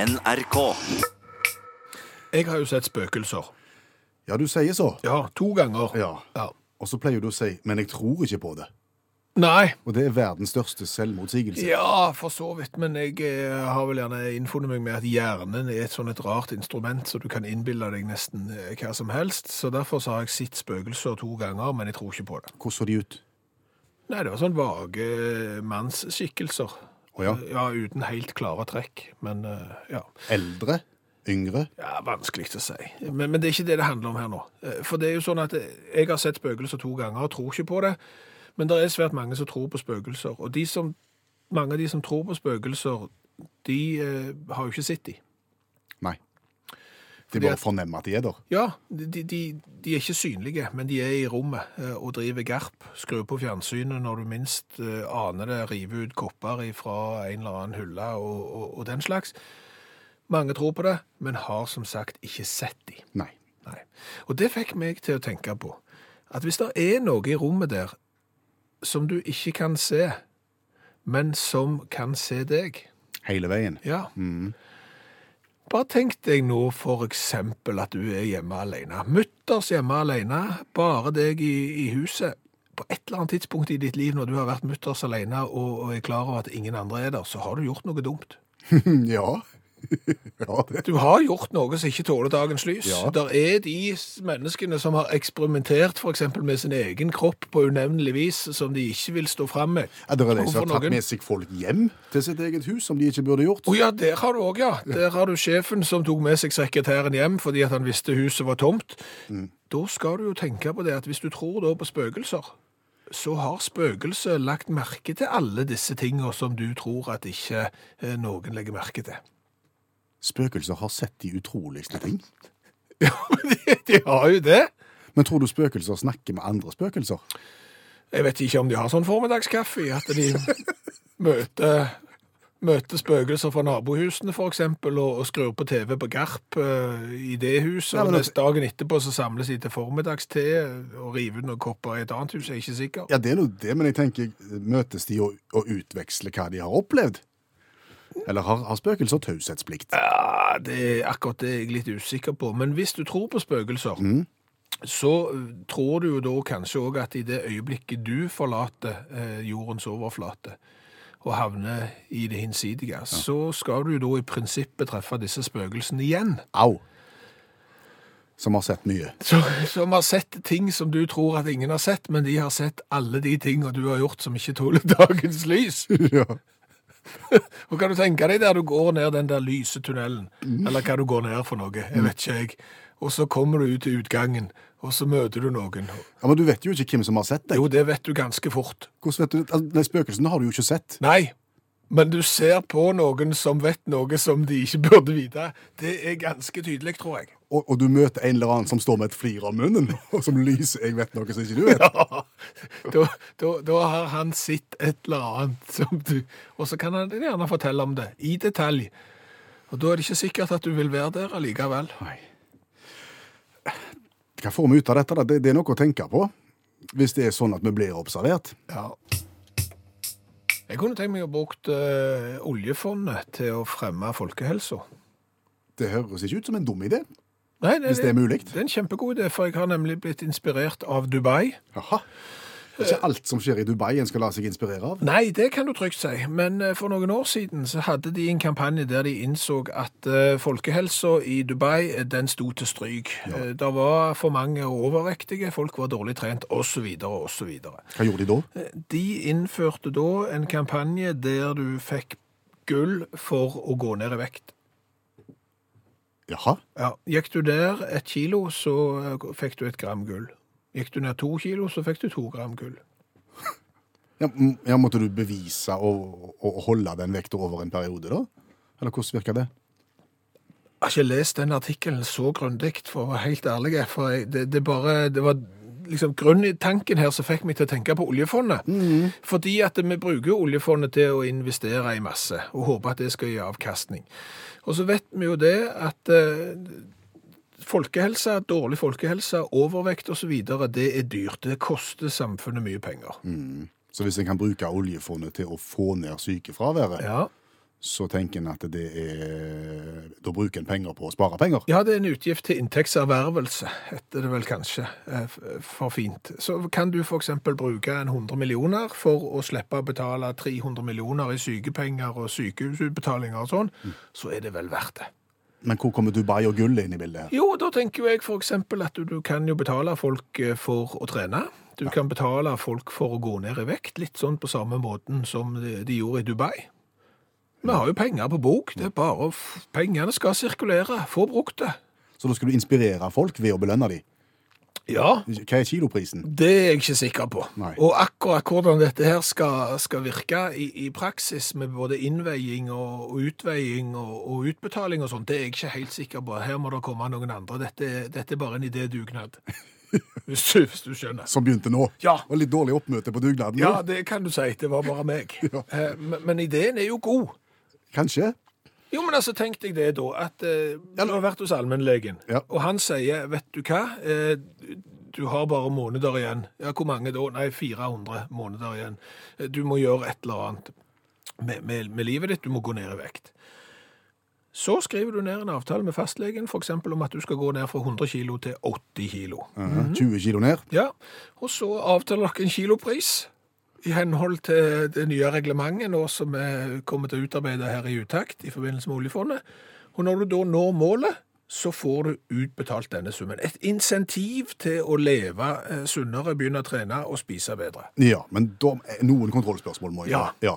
NRK. Jeg har jo sett spøkelser. Ja, du sier så. Ja, to ganger. Ja. Og så pleier du å si 'men jeg tror ikke på det'. Nei. Og det er verdens største selvmotsigelse. Ja, for så vidt, men jeg eh, har vel gjerne innfunnet meg med at hjernen er et sånn et rart instrument, så du kan innbille deg nesten eh, hva som helst. Så derfor så har jeg sett spøkelser to ganger, men jeg tror ikke på det. Hvordan så de ut? Nei, det var sånn vage mannsskikkelser. Eh, Å ja. Ja, uten helt klare trekk, men eh, ja. Eldre? Yngre? Ja, Vanskelig å si. Men, men det er ikke det det handler om her nå. Eh, For det er jo sånn at eh, jeg har sett spøkelser to ganger og tror ikke på det. Men det er svært mange som tror på spøkelser. Og de som, mange av de som tror på spøkelser, de eh, har jo ikke sett de. Nei. De Fordi bare at- fornemmer at de er der. Ja, de, de, de, de er ikke synlige, men de er i rommet eh, og driver garp. Skrur på fjernsynet når du minst eh, aner det, river ut kopper fra en eller annen hylle og, og, og den slags. Mange tror på det, men har som sagt ikke sett de. Nei. Nei. Og det fikk meg til å tenke på at hvis det er noe i rommet der som du ikke kan se, men som kan se deg Hele veien. Ja. Bare tenk deg nå for eksempel at du er hjemme alene. Mutters hjemme alene, bare deg i, i huset. På et eller annet tidspunkt i ditt liv når du har vært mutters alene og, og er klar over at ingen andre er der, så har du gjort noe dumt. Hm, Ja. ja, det. Du har gjort noe som ikke tåler dagens lys. Ja. Der er de menneskene som har eksperimentert for eksempel med sin egen kropp på unevnelig vis, som de ikke vil stå fram med. Ja, der er de Overfor som har tatt noen. med seg folk hjem til sitt eget hus, som de ikke burde gjort. Å ja, der har du òg, ja. Der har du sjefen som tok med seg sekretæren hjem fordi at han visste huset var tomt. Mm. Da skal du jo tenke på det at hvis du tror da på spøkelser, så har spøkelset lagt merke til alle disse tinga som du tror at ikke eh, noen legger merke til. Spøkelser har sett de utroligste ting. Ja, men de, de har jo det. Men tror du spøkelser snakker med andre spøkelser? Jeg vet ikke om de har sånn formiddagskaffe i at de møter, møter spøkelser fra nabohusene for eksempel, og, og skrur på TV på Garp eh, i det huset, Ja, og men at- neste dagen etterpå så samles de til formiddagste og river ut noen kopper i et annet hus, jeg er ikke sikker. Ja, det er nå det, men jeg tenker, møtes de og, og utveksler hva de har opplevd? Eller har, har spøkelser taushetsplikt? Ja, det er akkurat det jeg er litt usikker på, men hvis du tror på spøkelser, så eh, tror du jo da kanskje også at i det øyeblikket du forlater eh, jordens overflate, og havner i det hinsidige, så skal du jo da i prinsippet treffe disse spøkelsene igjen, Au! Som har sett mye. som, som har sett ting som du tror at ingen har sett, men de har sett alle de tingene du har gjort som ikke tåler dagens lys. ja. Og kan du tenke deg der du går ned den der lyse tunnelen, eller hva du går ned for noe, jeg vet ikke jeg, og så kommer du ut til utgangen, og så møter du noen. ja, Men du vet jo ikke hvem som har sett deg. Jo, det vet du ganske fort. Hvordan vet du? Altså, nei, spøkelsene har du jo ikke sett. Nei, men du ser på noen som vet noe som de ikke burde vite. Det er ganske tydelig, tror jeg. Og, og du møter en eller annen som står med et flir om munnen, og som lyser 'jeg vet noe som ikke du vet'. Da, da, da har han sett et eller annet som du Og så kan han gjerne fortelle om det, i detalj. Og da er det ikke sikkert at du vil være der allikevel. Nei. Hva får vi ut av dette? da? Det, det er noe å tenke på. Hvis det er sånn at vi blir observert. Ja. Jeg kunne tenkt meg å brukt eh, oljefondet til å fremme folkehelsa. Det høres ikke ut som en dum idé. Nei, det, Hvis det er mulig. Det er en kjempegod idé, for jeg har nemlig blitt inspirert av Dubai. Jaha. Det er ikke alt som skjer i Dubai en skal la seg inspirere av. Nei, det kan du trygt si, men eh, for noen år siden så hadde de en kampanje der de innså at eh, folkehelsa i Dubai, eh, den sto til stryk. Eh, Det var for mange overvektige, folk var dårlig trent, osv., osv. Hva gjorde de da? De innførte da en kampanje der du fikk gull for å gå ned i vekt. Jaha. Ja, Gikk du der et kilo, så eh, fikk du et gram gull. Gikk du ned to kilo, så fikk du to gram gull. Ja, m- ja, måtte du bevise og, og holde den vekta over en periode, da? Eller hvordan virker det? Jeg har ikke lest den artikkelen så grundig, for å være helt ærlig. For jeg, det, det, bare, det var liksom grunntanken her som fikk meg til å tenke på oljefondet. Fordi at vi bruker jo oljefondet til å investere i masse, og håper at det skal gi avkastning. Og så vet vi jo det at eh, folkehelse, dårlig folkehelse, overvekt osv., det er dyrt. Det koster samfunnet mye penger. Så hvis en kan bruke oljefondet til å få ned sykefraværet, Ja. så tenker en at det er Da bruker en penger på å spare penger. Ja, det er en utgift til inntektservervelse, heter det vel kanskje, eh, f- for fint. Så kan du f.eks. bruke en 100 millioner for å slippe å betale 300 millioner i sykepenger og sykehusutbetalinger og sånn, så er det vel verdt det. Men hvor kommer Dubai og gullet inn i bildet? her? Jo, da tenker jo jeg f.eks. at du, du kan jo betale folk eh, for å trene. Du kan betale folk for å gå ned i vekt, litt sånn på samme måten som de de gjorde i Dubai. Vi har jo penger på bok, det er bare å f- Pengene skal sirkulere, få brukt det. Så da skal du inspirere folk ved å belønne dem. Ja, Hva er kiloprisen? det er jeg ikke sikker på. Nei. Og akkurat hvordan dette her skal, skal virke i, i praksis, med både innveiing og og utveiing og, og utbetaling og sånn, det er jeg ikke helt sikker på. Her må det komme noen andre. Dette, er- dette er bare en idédugnad. Hvis du, hvis du skjønner. Som begynte nå. Ja. Og litt dårlig oppmøte på dugnaden. Ja, det kan du si. Det var bare meg. Eh, Men, men ideen er jo god. Kanskje. Jo, men altså, tenk deg det da, at eh, du Eller- har vært hos allmennlegen, Ja. og han sier, vet du hva, eh, du har bare måneder igjen. Ja, hvor mange da? Nei, 400 måneder igjen. Eh, Du må gjøre et eller annet med, med, med livet ditt, du må gå ned i vekt. Så skriver du ned en avtale med fastlegen, for eksempel om at du skal gå ned fra 100 kilo til 80 kilo. Mhm. 20 kilo ned. Ja, og så avtaler dere en kilopris i henhold til det nye reglementet nå som er kommet til å utarbeide her i utakt i forbindelse med oljefondet. Og når du da når målet, så får du utbetalt denne summen. Et insentiv til å leve eh, sunnere, begynne å trene og spise bedre. Ja, men da, eh, noen kontrollspørsmål må jeg Ja. ha. Ja.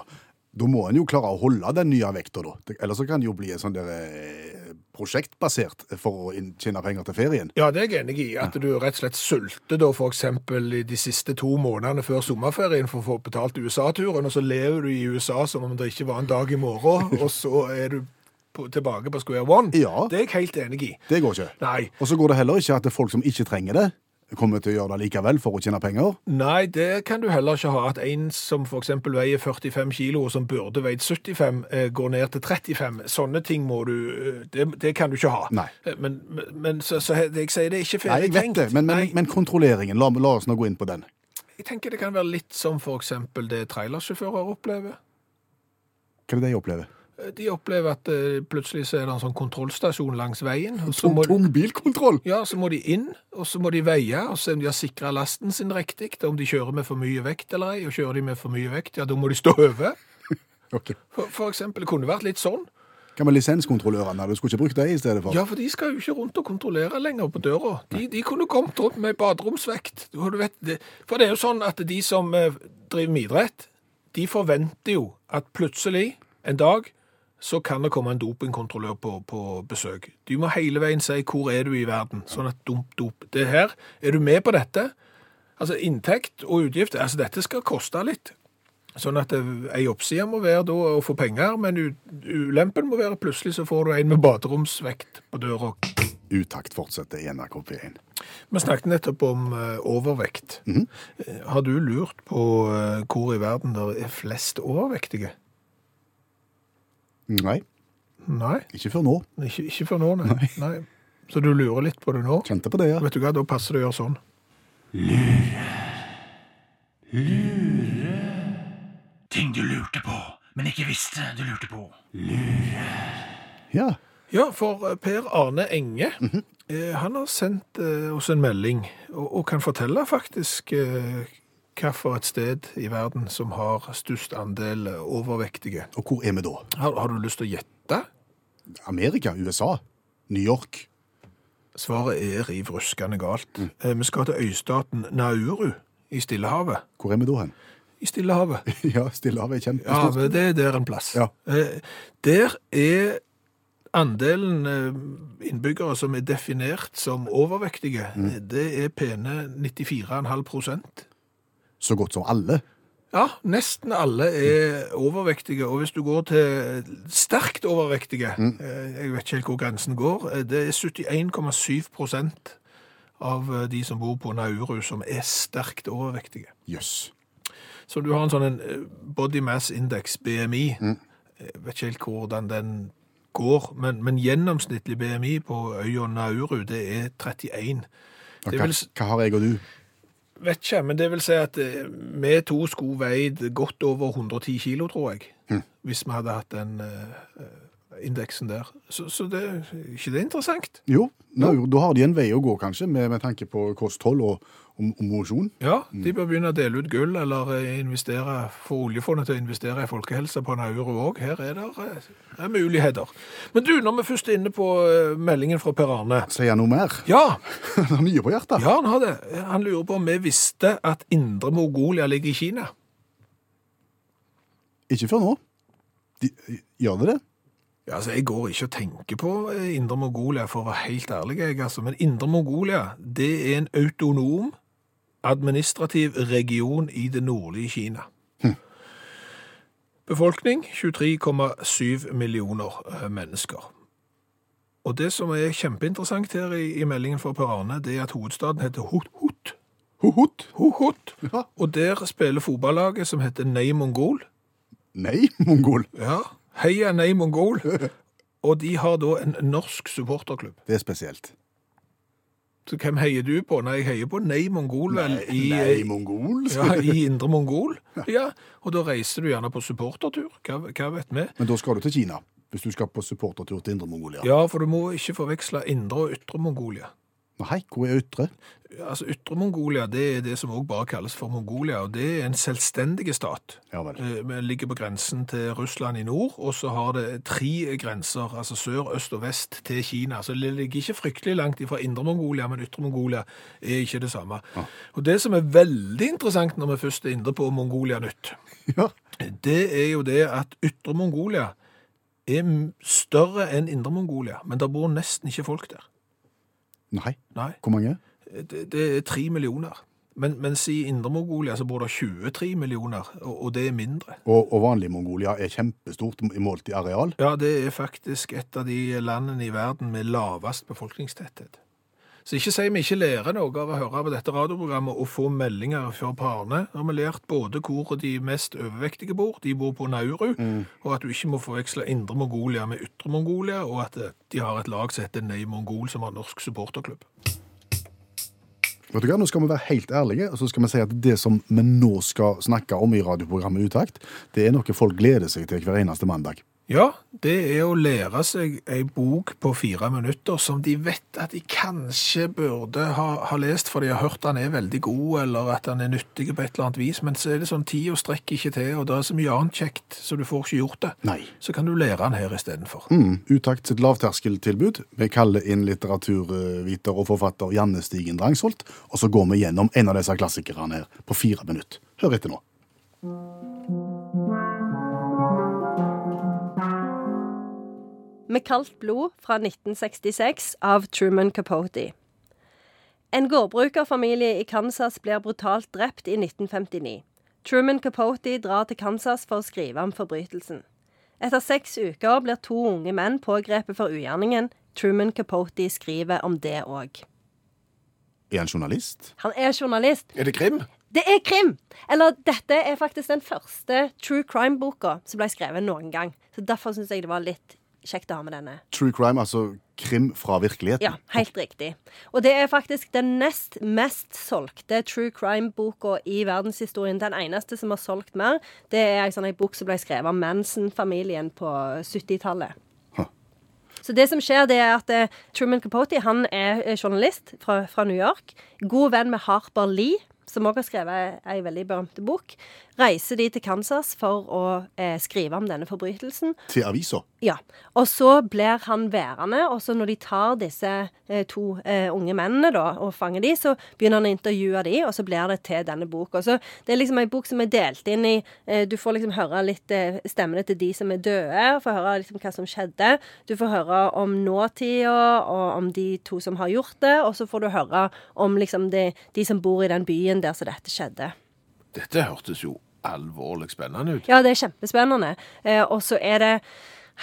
Da må en jo klare å holde den nye vekta, da. Det- Ellers så kan det jo bli en sånn der eh, prosjektbasert for å inn- tjene penger til ferien. Ja, det er jeg enig i. At du rett og slett sulter da for eksempel i de siste to månedene før sommerferien for å få betalt USA-turen, og så lever du i USA som om det ikke var en dag i morgen, og så er du på, tilbake på square one. Ja. Det er jeg helt enig i. Det går ikke. Nei, Og så går det heller ikke at det er folk som ikke trenger det, kommer til å gjøre det likevel for å tjene penger. nei, det kan du heller ikke ha. At en som for eksempel veier 45 kilo, og som burde veid 75, eh, går ned til 35. Sånne ting må du, eh, det, det kan du ikke ha. Nei. Eh, Men, men- men så, så he- jeg sier det er ikke Nei, ferdig jeg vet tenkt. det, men, men, Nei. men kontrolleringen, la, la oss nå gå inn på den. Jeg tenker det kan være litt som for eksempel det trailersjåfører opplever. Hva er det jeg opplever? De opplever at eh, plutselig så er det en sånn kontrollstasjon langs veien. Og så Tom, må, tom bilkontroll! ja, så må de inn, og så må de veie og se om de har sikra lasten sin riktig. Om de kjører med for mye vekt eller ei. Og kjører de med for mye vekt, ja, da må de stå over. Ok. For, for eksempel, det kunne vært litt sånn. Hva med lisenskontrollørene? Du skulle ikke brukt dem i stedet for? Ja, for de skal jo ikke rundt og kontrollere lenger på døra. De, de kunne kommet rundt med baderomsvekt. Og Du vet, det, for det er jo sånn at de som eh, driver med idrett, de forventer jo at plutselig en dag så kan det komme en dopingkontrollør på, på besøk. Du må hele veien si 'hvor er du i verden', sånn at dump, dop. Det her, er du med på dette? Altså inntekt og utgift, altså dette skal koste litt. Sånn at eh, ei oppside må være da å få penger, men u- ulempen må være plutselig så får du en med baderomsvekt på døra. Utakt fortsetter i NRK P1. Vi snakket nettopp om eh, overvekt. Eh, Har du lurt på eh, hvor i verden det er flest overvektige? Nei, Nei, ikke før nå. ikke, ikke før nå, nei. nei. Så du lurer litt på det nå? Kjente på det, ja. Vet du hva, da passer det å gjøre sånn. Ting du lurte på, men ikke visste du lurte på. Ja. Ja, for eh, Per Arne Enge, eh, han har sendt eh, oss en melding, og, og kan fortelle faktisk eh, hva for et sted i verden som har størst andel eh, overvektige. Og hvor er vi da? Har, har du lyst til å gjette? Amerika? USA? New York? Svaret er riv ruskende galt. Eh, vi skal til øystaten Nauru i Stillehavet. Hvor er vi da hen? I Stillehavet. Ja, Stillehavet er Ja, kjempestort. men det er der en plass. Ja. Eh, Der er andelen eh, innbyggere som er definert som overvektige, det er pene 94,5 prosent. Så godt som alle. Ja, nesten alle er overvektige, og hvis du går til sterkt overvektige, eh, jeg vet ikke helt hvor grensen går, eh, det er 71,7 prosent av eh, de som bor på Nauru som er sterkt overvektige. Jøss. Så du har en sånn en eh, body mass index, BMI. Eh, Jeg vet ikke helt hvordan den går, men, men gjennomsnittlig BMI på øya Nauru, det er 31. Ja, Det hva, vil s- hva har jeg og du? Vet ikke, men det vil si at eh, vi to skulle veid godt over 110 kilo, tror jeg. Hvis vi hadde hatt en, eh, indeksen der. Så, så det, er ikke det interessant? Jo, nå, jo, da har de en vei å gå, kanskje, med, med tanke på kosthold og, og, og mosjon. Ja, de bør begynne å dele ut gull, eller eh, investere, få oljefondet til å investere i folkehelse på en euro òg. Her er det eh, er muligheter. Men du, når vi først er inne på eh, meldingen fra Per Arne. Sier han noe mer? Ja, Han har mye på hjertet. ja, han har det. Han lurer på om vi visste at Indre Mongolia ligger i Kina. Ikke før nå. De, gjør det det? Ja, altså, Jeg går ikke og tenker på eh, Indre Mongolia, for å være helt ærlig. Jeg, altså. Men Indre Mongolia det er en autonom administrativ region i det nordlige Kina. Befolkning 23,7 millioner eh, mennesker. Og det som er kjempeinteressant her i, i meldingen fra Per Arne, det er at hovedstaden heter Hut. Hut. Hohot? Hut. Ja. Og der spiller fotballaget som heter Nei Mongol. Nei, mongol. Ja, Heia Nei Mongol. Og de har da en norsk supporterklubb. Det er spesielt. Så hvem heier du på? Nei, jeg heier på Nei Mongol, vel, i, Eh, eh, Nei, mongol? ja, i Indre Mongol. Ja, og da reiser du gjerne på supportertur. Hva, hva vet vi? Men da skal du til Kina, hvis du skal på supportertur til Indre Mongolia. Ja, for du må ikke forveksle Indre og Ytre Mongolia. Nei, hvor er Ytre? Altså, Ytre Mongolia det er det som også bare kalles for Mongolia, og det er en selvstendig stat. Ja vel. Eh, Vi ligger på grensen til Russland i nord, og så har det tre grenser, altså sør, øst og vest til Kina. Så det ligger ikke fryktelig langt ifra Indre Mongolia, men Ytre Mongolia er ikke det samme. Og det som er veldig interessant når vi først er inne på Mongolia nytt, Ja. det er jo det at Ytre Mongolia er m- større enn Indre Mongolia, men der bor nesten ikke folk der. Nei, Nei, hvor mange? det, det er tre millioner. Men, mens i Indre Mongolia så bor det 23 millioner, og, og det er mindre. Og, og vanlig Mongolia er kjempestort i målt i areal. Ja, det er faktisk et av de landene i verden med lavest befolkningstetthet. Så ikke si vi ikke lærer noe av å høre på dette radioprogrammet og få meldinger fra parene. Nå har vi lært både hvor de mest overvektige bor, de bor på Nauru, og at du ikke må forveksle Indre Mongolia med Ytre Mongolia, og at eh, de har et lag som heter Nei Mongol, som har norsk supporterklubb. Vet du hva, Nå skal vi være helt ærlige, og så skal vi si at det som vi nå skal snakke om i radioprogrammet Utakt, det er noe folk gleder seg til hver eneste mandag. Ja, det er å lære seg ei bok på fire minutter som de vet at de kanskje burde ha, ha lest, for de har hørt han er veldig god, eller at han er nyttig på et eller annet vis, men så er det sånn tida strekker ikke til, og det er så mye annet kjekt, så du får ikke gjort det. Nei. Så kan du lære han her istedenfor. Mm, Utakt sitt lavterskeltilbud. Vi kaller inn litteraturviter og forfatter Janne Stigen Drangsholt, og så går vi gjennom en av disse klassikerne her på fire minutter. Hør etter nå. Med kaldt blod fra 1966 av Truman Capote. En gårdbrukerfamilie i Kansas blir brutalt drept i 1959. Truman Capote drar til Kansas for å skrive om forbrytelsen. Etter seks uker blir to unge menn pågrepet for ugjerningen. Truman Capote skriver om det òg. Er han journalist? Han er journalist, Er det krim? det er krim! Eller dette er faktisk den første true crime-boka som ble skrevet noen gang. Så derfor syns jeg det var litt kjekt å ha med denne. True crime, altså krim fra virkeligheten. Ja, helt riktig. Og det er faktisk den nest mest solgte true crime-boka i verdenshistorien. Den eneste som har solgt mer, det er ei sånn ei bok som ble skrevet av Manson-familien på 70-tallet. Huh. Så det som skjer, det er at eh, Truman Capote han er eh, journalist fra, fra New York. God venn med Harper Lee, som også har skrevet ei veldig berømte bok. Reiser de til Kansas for å eh, skrive om denne forbrytelsen. Til avisa. Ja, og så blir han værende, og så når de tar disse eh, to eh, unge mennene da, og fanger de, så begynner han å intervjue de, og så blir det til denne boka. Så det er liksom en bok som er delt inn i, eh, du får liksom høre litt eh, stemmene til de som er døde, og får høre liksom hva som skjedde, du får høre om nåtida, og om de to som har gjort det, og så får du høre om liksom de, de som bor i den byen der som dette skjedde. Dette hørtes jo alvorlig spennende ut. Ja, det er kjempespennende. Eh, og så er det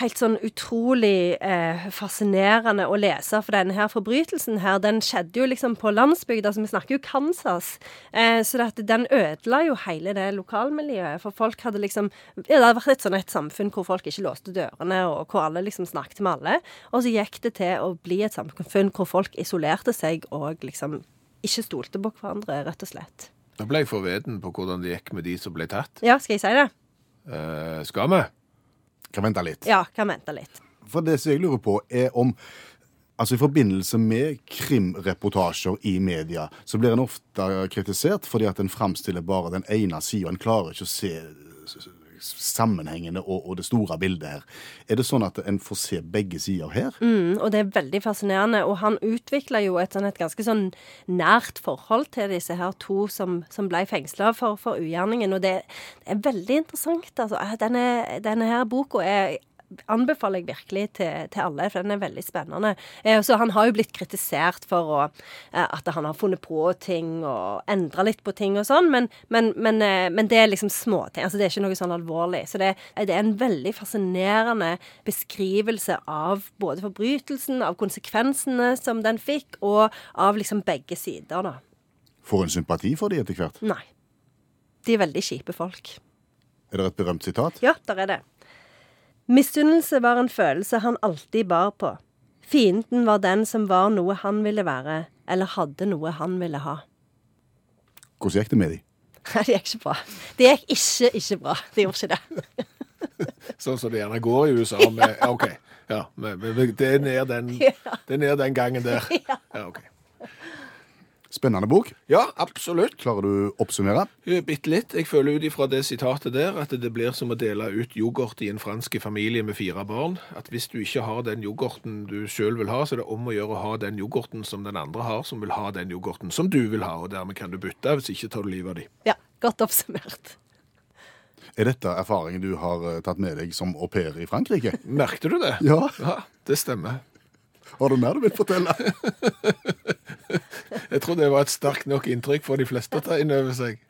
helt sånn utrolig eh, fascinerende å lese, for denne her forbrytelsen her, den skjedde jo liksom på landsbygda, altså vi snakker jo Kansas, eh, så det, at den ødela jo hele det lokalmiljøet, for folk hadde liksom, ja, det hadde vært et sånn et samfunn hvor folk ikke låste dørene, og hvor alle liksom snakket med alle, og så gikk det til å bli et samfunn hvor folk isolerte seg, og liksom ikke stolte på hverandre, rett og slett. Da ble jeg forveden på hvordan det gikk med de som ble tatt. Eh, Ja, skal jeg si det? skal vi? Kan vente litt. Ja, kan vente litt. For det som jeg lurer på, er om Altså I forbindelse med krimreportasjer i media så blir en ofte kritisert fordi at en framstiller bare den ene sida. En klarer ikke å se s- s- sammenhengene og, og det store bildet her. Er det sånn at en får se begge sider her? Mm, og det er veldig fascinerende. Og han utvikla jo et, sånn, et ganske sånn nært forhold til disse her to som, som ble fengsla for, for ugjerningen. Og det, det er veldig interessant. Altså, Eh, denne, denne her boka er anbefaler jeg virkelig til, til alle, for den er veldig spennende. Eh, så han har jo blitt kritisert for å, eh, at han har funnet på ting og endra litt på ting og sånn, men, men, men, eh, men det er liksom småting. Altså, det er ikke noe sånn alvorlig. Så det, det er en veldig fascinerende beskrivelse av både forbrytelsen, av konsekvensene som den fikk, og av liksom begge sider, da. Får en sympati for de etter hvert? Nei. De er veldig kjipe folk. Er det et berømt sitat? Ja, der er det. Misunnelse var en følelse han alltid bar på. Fienden var den som var noe han ville være, eller hadde noe han ville ha. Hvordan gikk det med de? Nei, det gikk ikke bra. Det gikk ikke, ikke bra. Det gjorde ikke det. Sånn som det gjerne går i USA. Med, ja, OK. Ja, men, men, men det, er ned den, det er ned den gangen der. Ja, ok. Spennende bok. ja absolutt. Eh, Klarer du å oppsummere? Bitte litt. Jeg føler ut ifra det sitatet der at det blir som å dele ut yoghurt i en fransk familie med fire barn. At hvis du ikke har den yoghurten du sjøl vil ha, så er det om å gjøre å ha den yoghurten som den andre har, som vil ha den yoghurten som du vil ha, og dermed kan du bytte. Hvis ikke tar du livet av de. Ja, Godt oppsummert. Er dette erfaringen du har eh, tatt med deg som au pair i Frankrike? Merkte du det? Ja. Ja, det stemmer. Har du mer du vil fortelle? Jeg tror det var et sterkt nok inntrykk for de fleste å ta inn over seg.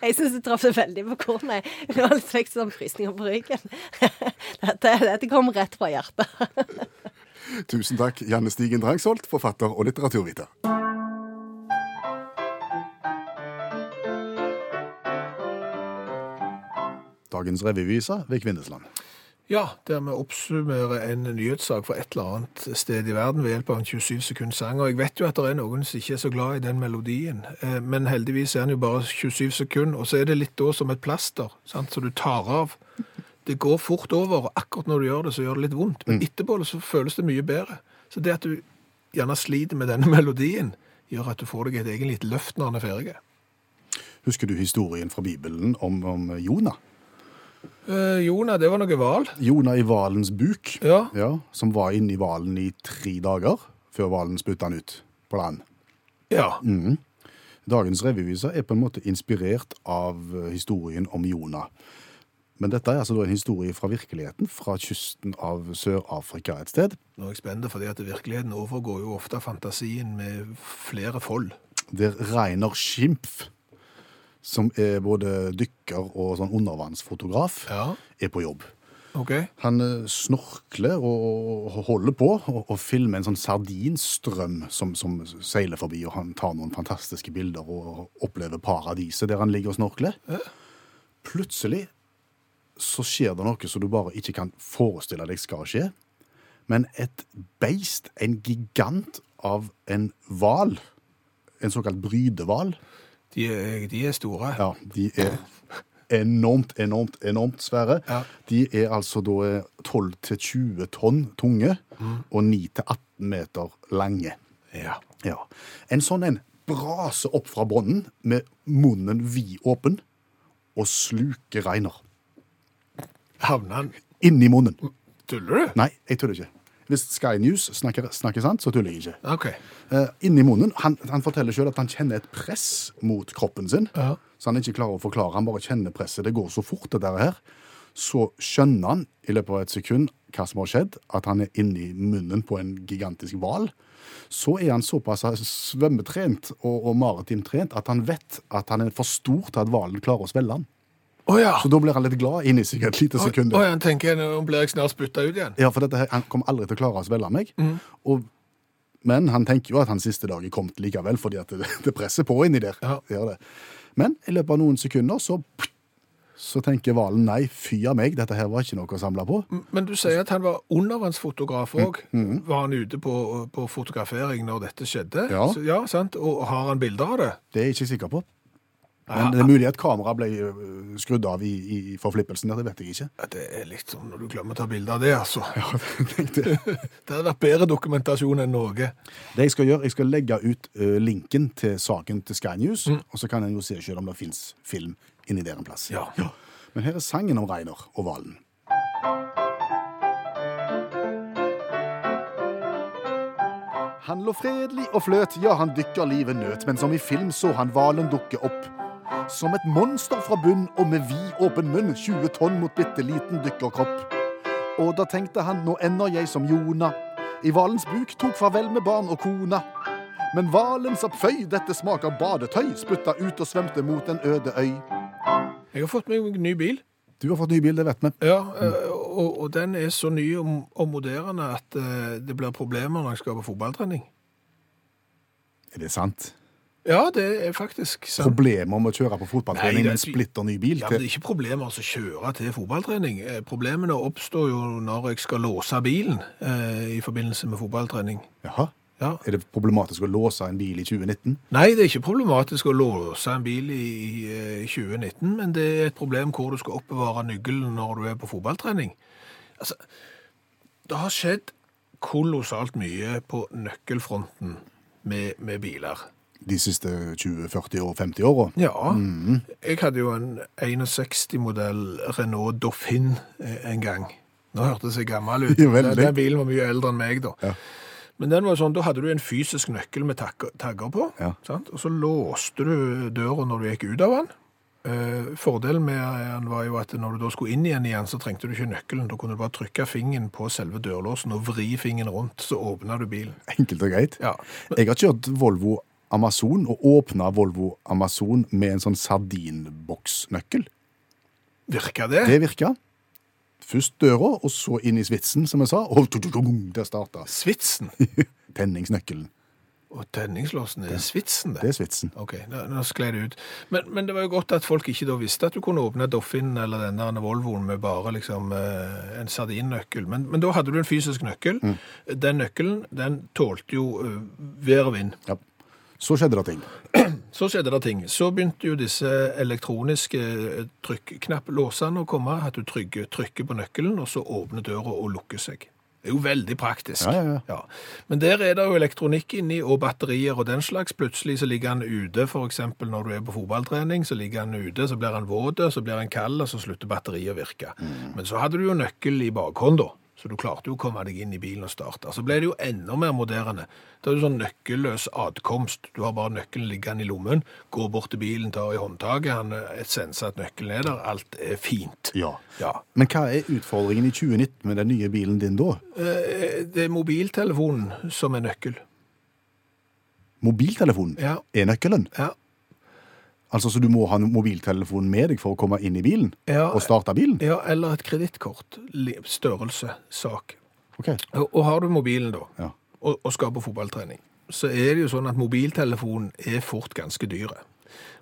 Jeg syns du traff det veldig på kornet. Nå har jeg fikk sånn frysninger på ryggen. Dette, dette kom rett fra hjertet. Tusen takk, Janne Stigen Drangsholt, forfatter og litteraturviter. Dagens revyvise ved Kvinnesland. Ja, der vi oppsummerer en nyhetssak fra et eller annet sted i verden ved hjelp av en 27 sekunds sang. Og jeg vet jo at det er noen som ikke er så glad i den melodien, eh, men heldigvis er den jo bare 27 sekunder. Og så er det litt da som et plaster, sant, som du tar av. Det går fort over, og akkurat når du gjør det, så gjør det litt vondt. Men etterpå så føles det mye bedre. Så det at du gjerne sliter med denne melodien, gjør at du får deg et egen lite løft når den er ferdig. Husker du historien fra Bibelen om, om Jonah? Eh, Jonah, det var noe val. Jonah i hvalens buk, Ja. som var inni hvalen i tre dager før hvalen spytta han ut på land. Ja. Dagens revyvise er på en måte inspirert av eh, historien om Jonah. Men dette er altså da en historie fra virkeligheten, fra kysten av Sør-Afrika et sted. Nå er jeg spent, fordi at virkeligheten overgår jo ofte fantasien med flere fold. der Reiner Schimpf, som er både dykker og sånn undervannsfotograf, Ja. er på jobb. Ok. Han eh, snorkler og og holder på og, og filmer en sånn sardinstrøm som, som seiler forbi, og han tar noen fantastiske bilder og opplever paradiset der han ligger og snorkler. Plutselig så skjer det noe som du bare ikke kan forestille deg skal skje. Men et beist, en gigant av en hval, en såkalt brydehval De er, de er store. ja, de er enormt, enormt, enormt svære. Ja. De er altså da 12-20 tonn tunge og 9-18 meter lange. Ja. Ja. En sånn en braser opp fra bånden med munnen vid åpen og sluker Reiner. Havner han Inni munnen. Tuller du? Nei, jeg tuller ikke. Hvis Sky News snakker, snakker sant, så tuller jeg ikke. OK. Eh, inni munnen. Han, han forteller sjøl at han kjenner et press mot kroppen sin. Ja. Så han ikke klarer å forklare. Han bare kjenner presset. Det går så fort, det der her. Så skjønner han i løpet av et sekund hva som har skjedd, at han er inni munnen på en gigantisk hval. Så er han såpass svømmetrent og, og maritimtrent at han vet at han er for stor til at hvalen klarer å svelge han. Å ja. Så da blir han litt glad inni seg et lite sekund. Å ja, han tenker nå blir jeg snart spytta ut igjen. Ja, for dette, her- han kommer aldri til å klare å svelge meg. Og, men han tenker jo at han siste dag er kommet likevel, fordi at det, det presser på inni der. Ja. Det gjør det. Men i løpet av noen sekunder så, så tenker hvalen nei, fy av meg, dette her var ikke noe å samle på. Men du sier at han var undervannsfotograf òg. Var han ute på, på fotografering når dette skjedde? Ja. Så, ja sant? Og har han bilder av det? Det er jeg ikke sikker på. Men det er mulig at kameraet ble eh, skrudd av i, i i forflippelsen der, det vet jeg ikke. Ja, det er litt som når du glemmer å ta bilde av det, altså. Tenk det. Det hadde vært bedre dokumentasjon enn noe. Det jeg skal gjøre, jeg skal legge ut eh, linken til saken til Sky News, og så kan en jo se selv om det fins film inni der en plass. Ja. Men her er sangen om Reiner og Valen. Han lå fredelig og fløt, ja, han dykker livet nøt, men som i film så han hvalen dukke opp. Som et monster fra bunn og med vid åpen munn, 20 tonn mot bitte liten dykkerkropp. Og da tenkte han, nå ender jeg som Jona. I hvalens buk tok farvel med barn og kona. Men hvalen sa føy, dette smaker badetøy, spytta ut og svømte mot en øde øy. Jeg har fått meg en ny bil. Du har fått ny bil, det vet vi. Ja, eh, og, og den er så ny og, og moderne at eh, det blir problemer når jeg skal på fotballtrening. Er det sant? Ja, det er faktisk sant. Problemer med å kjøre på Nei, det fotballtrening er med en ikke- splitter ny bil? Ja, men det til... er ikke problemer altså, å kjøre til fotballtrening. Eh, Problemene oppstår jo når jeg skal låse bilen eh, i forbindelse med fotballtrening. Jaha. Ja. Er det problematisk å låse en bil i 2019? Nei, det er ikke problematisk å låse en bil i, i eh, 2019, men det er et problem hvor du skal oppbevare nøkkelen når du er på fotballtrening. Altså, det har skjedd kolossalt mye på nøkkelfronten med, med biler. De siste 20, 40 og 50 åra? Ja. Mm. Jeg hadde jo en 61-modell Renault Dauphine eh, en gang. Nå hørtes jeg gammel ut. Ja, veldig. Den- Den bilen var mye eldre enn meg, da. Men den var jo sånn, da hadde du en fysisk nøkkel med tagger, tagger på, Ja. sant? og så låste du døra når du gikk ut av den. Eh, fordelen med den var jo at når du da skulle inn igjen igjen, så trengte du ikke nøkkelen. Da kunne du bare trykke fingeren på selve dørlåsen og vri fingeren rundt, så åpna du bilen. Enkelt og greit. Ja. Jeg har kjørt Volvo Amazon og åpna Volvo Amazon med en sånn sardinboksnøkkel. Virka det? Det virka. Først døra, og så inn i svitsen, som jeg sa. Og tututum, der starta Svitsen. tenningsnøkkelen. Og tenningslåsen er svitsen, det. Det er svitsen. Ok, nå, nå sklei det ut. Men, men det var jo godt at folk ikke da visste at du kunne åpne Doffinen eller den der Volvoen med bare liksom eh, en sardinnøkkel. Men, men da hadde du en fysisk nøkkel. Mm. Den nøkkelen, den tålte jo eh, vær og vind. Ja. Så skjedde det ting. Så skjedde det ting. Så begynte jo disse elektroniske eh, trykknapplåsene å komme, at du trykker, trykker på nøkkelen, og så åpner døra og lukker seg. Det er jo veldig praktisk. Ja, ja, ja. Men der er det jo elektronikk inni, og batterier og den slags. Plutselig så ligger han ute, for eksempel når du er på fotballtrening, så ligger han ute, så blir han våt, så blir han kald, og så slutter batteriet å virke. Mm. Men så hadde du jo nøkkel i bakhånd da. Så du klarte jo å komme deg inn i bilen og starte. Så ble det jo enda mer moderne. Da er det sånn nøkkelløs adkomst. Du har bare nøkkelen liggende i lommen, går bort til bilen, tar i håndtaket, han eh, senser at nøkkelen er der, alt er fint. Ja. Ja. Men hva er utfordringen i 2019 med den nye bilen din da? Eh, Det er mobiltelefonen som er nøkkel. Mobiltelefonen Ja. er nøkkelen. Ja. Altså, Så du må ha mobiltelefonen med deg for å komme inn i bilen? Ja. Og starte bilen? Ja, eller et kredittkort. Li- Størrelse, sak. Ok. Og og har du mobilen, da, Ja. og, og skal på fotballtrening, så er det jo sånn at mobiltelefonen er fort ganske dyre.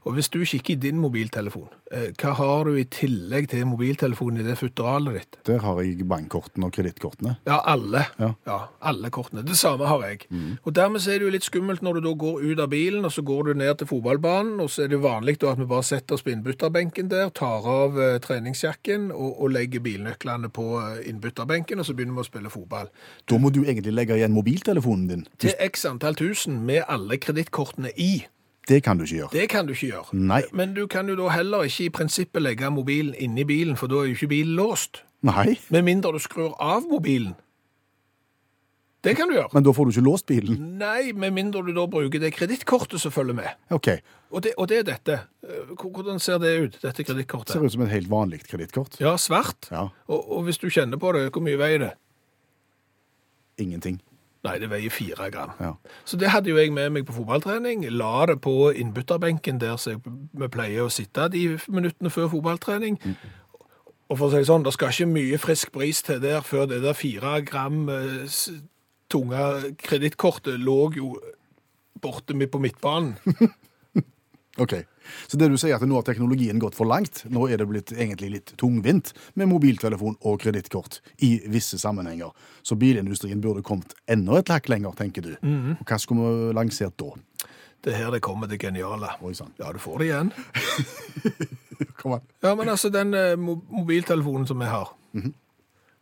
Og hvis du kikker i din mobiltelefon, eh, hva har du i tillegg til mobiltelefonen i det futteralet ditt? Der har jeg bankkortene og kredittkortene. Ja, alle. Ja. Mm. alle kortene. Det samme har jeg. Og dermed så er det jo litt skummelt når du da går ut av bilen, og så går du ned til fotballbanen, og så er det vanlig da at vi bare setter oss på innbytterbenken der, tar av eh, treningsjakken og, og legger bilnøklene på eh, innbytterbenken, og så begynner vi å spille fotball. Da må du egentlig legge igjen mobiltelefonen din. til x antall tusen med alle kredittkortene i. Det kan du ikke gjøre. Det kan du ikke gjøre. Nei. Men du kan jo da heller ikke i prinsippet legge mobilen inni bilen, for da er jo ikke bilen låst. Nei, Med mindre du skrur av mobilen. Det kan du gjøre. men da får du ikke låst bilen. Nei, med mindre du da bruker det kredittkortet som følger med. Ok, Og det, og det er dette. Eh, h- Hvordan ser det ut, dette kredittkortet? ser ut som et helt vanlig kredittkort. Ja, svart. Ja. Og, og hvis du kjenner på det, hvor mye veier det? Ingenting. Nei, det veier fire gram. Ja. Så det hadde jo jeg med meg på fotballtrening. La det på innbytterbenken der som jeg- vi pleier å sitte de minuttene før fotballtrening. Mm. Og for å si det sånn, det skal ikke mye frisk bris til der før det der fire gram eh, s- tunge kredittkortet lå jo borte midt på midtbanen. Ok, så det du sier at nå har teknologien gått for langt, nå er det blitt egentlig litt tungvint med mobiltelefon og kredittkort i visse sammenhenger. Mhm. Så bilindustrien burde kommet enda et hakk lenger, tenker du. Og hva skulle vi lansert da? Det er her det kommer det geniale. Oi sann. Ja, du får det igjen. Kom an. Ja, men altså, den eh, mo- mobiltelefonen som vi har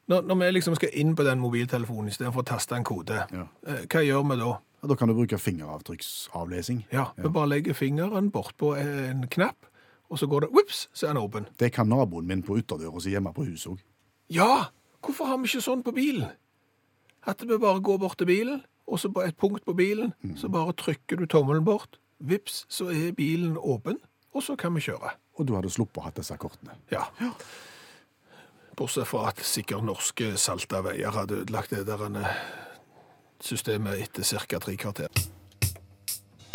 når, når vi liksom skal inn på den mobiltelefonen istedenfor å taste en kode, Ja. eh, hva gjør vi da? Ja, Da kan du bruke fingeravtrykksavlesing. Ja, vi bare legger fingeren bortpå eh, en knapp, og så går det Ops, så er den åpen. Det kan naboen min på ytterdøra si hjemme på huset òg. Ja! Hvorfor har vi ikke sånn på bilen? At vi bare går bort til bilen, og så på et punkt på bilen, så bare trykker du tommelen bort. Vips, så er bilen åpen, og så kan vi kjøre. Og du hadde sluppet å ha disse kortene. Ja. Bortsett fra at sikkert norske salta veier hadde ødelagt det der eh, systemet etter ca. tre kvarter.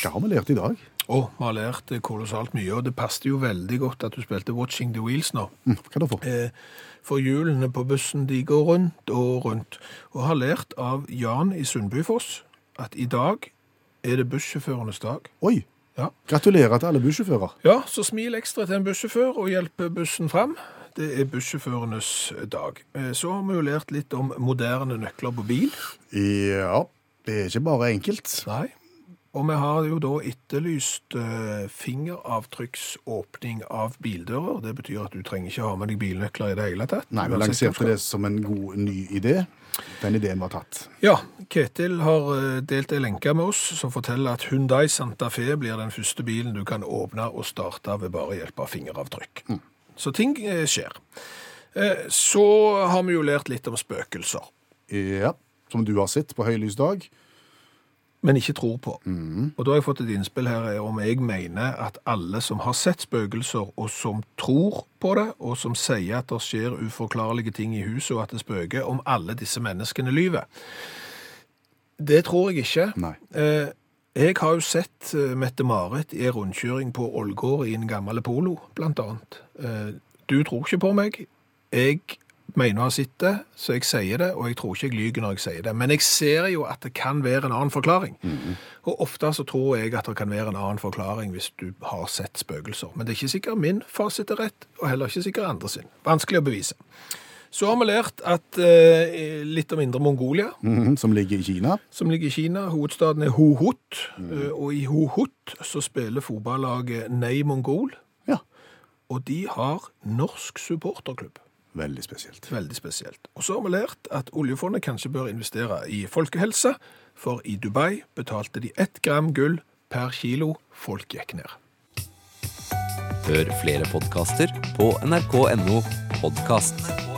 Hva har vi lært i dag? Og vi har lært kolossalt mye, og det passet jo veldig godt at du spilte Watching the Wheels nå. Mm, Hva da for? Eh, For hjulene på bussen de går rundt og rundt, og har lært av Jan i Sundbyfoss at i dag er det bussjåførenes dag. Oi! Ja. Gratulerer til alle bussjåfører. Ja, så smil ekstra til en bussjåfør og hjelp bussen fram. Det er bussjåførenes dag. Eh, Så har vi jo lært litt om moderne nøkler på bil. Ja, det er ikke bare enkelt. Nei. Og vi har jo da etterlyst eh, fingeravtrykksåpning av bildører. Det betyr at du trenger ikke ha med deg bilnøkler i det hele tatt. Nei, vi Uansett hvor du lanserte skal. det som en god, ny idé. Den ideen var tatt. Ja, Ketil har eh, delt en lenke med oss som forteller at Hyundai Santa Fe blir den første bilen du kan åpne og starte ved bare hjelp av fingeravtrykk. Så ting eh, skjer. Eh, Så har vi jo lært litt om spøkelser, Ja, Som du har sett på høylys dag. men ikke tror på. Og da har jeg fått et innspill her eh, om jeg mener at alle som har sett spøkelser, og som tror på det, og som sier at det skjer uforklarlige ting i huset, og at det spøker, om alle disse menneskene lyver. Det tror jeg ikke. Nei. Eh, jeg har jo sett eh, Mette-Marit i en rundkjøring på Ålgård i en gammel polo, blant annet. Eh, du tror ikke på meg. Jeg mener å ha sett det, så jeg sier det, og jeg tror ikke jeg lyger når jeg sier det. Men jeg ser jo at det kan være en annen forklaring. Og ofte så tror jeg at det kan være en annen forklaring hvis du har sett spøkelser. Men det er ikke sikkert min fasit er rett, og heller ikke sikkert andre sin. Vanskelig å bevise. Så har vi lært at, eh, litt om Indre Mongolia Mhm, som ligger i Kina. som ligger i Kina. Hovedstaden er Hohot, eh, og i Hohot så spiller fotballaget Nei Mongol, Ja, og de har norsk supporterklubb. Veldig spesielt. Veldig spesielt. Og så har vi lært at oljefondet kanskje bør investere i folkehelse, for i Dubai betalte de ett gram gull per kilo. Folk gikk ned. Hør flere podkaster på nrk.no podkast.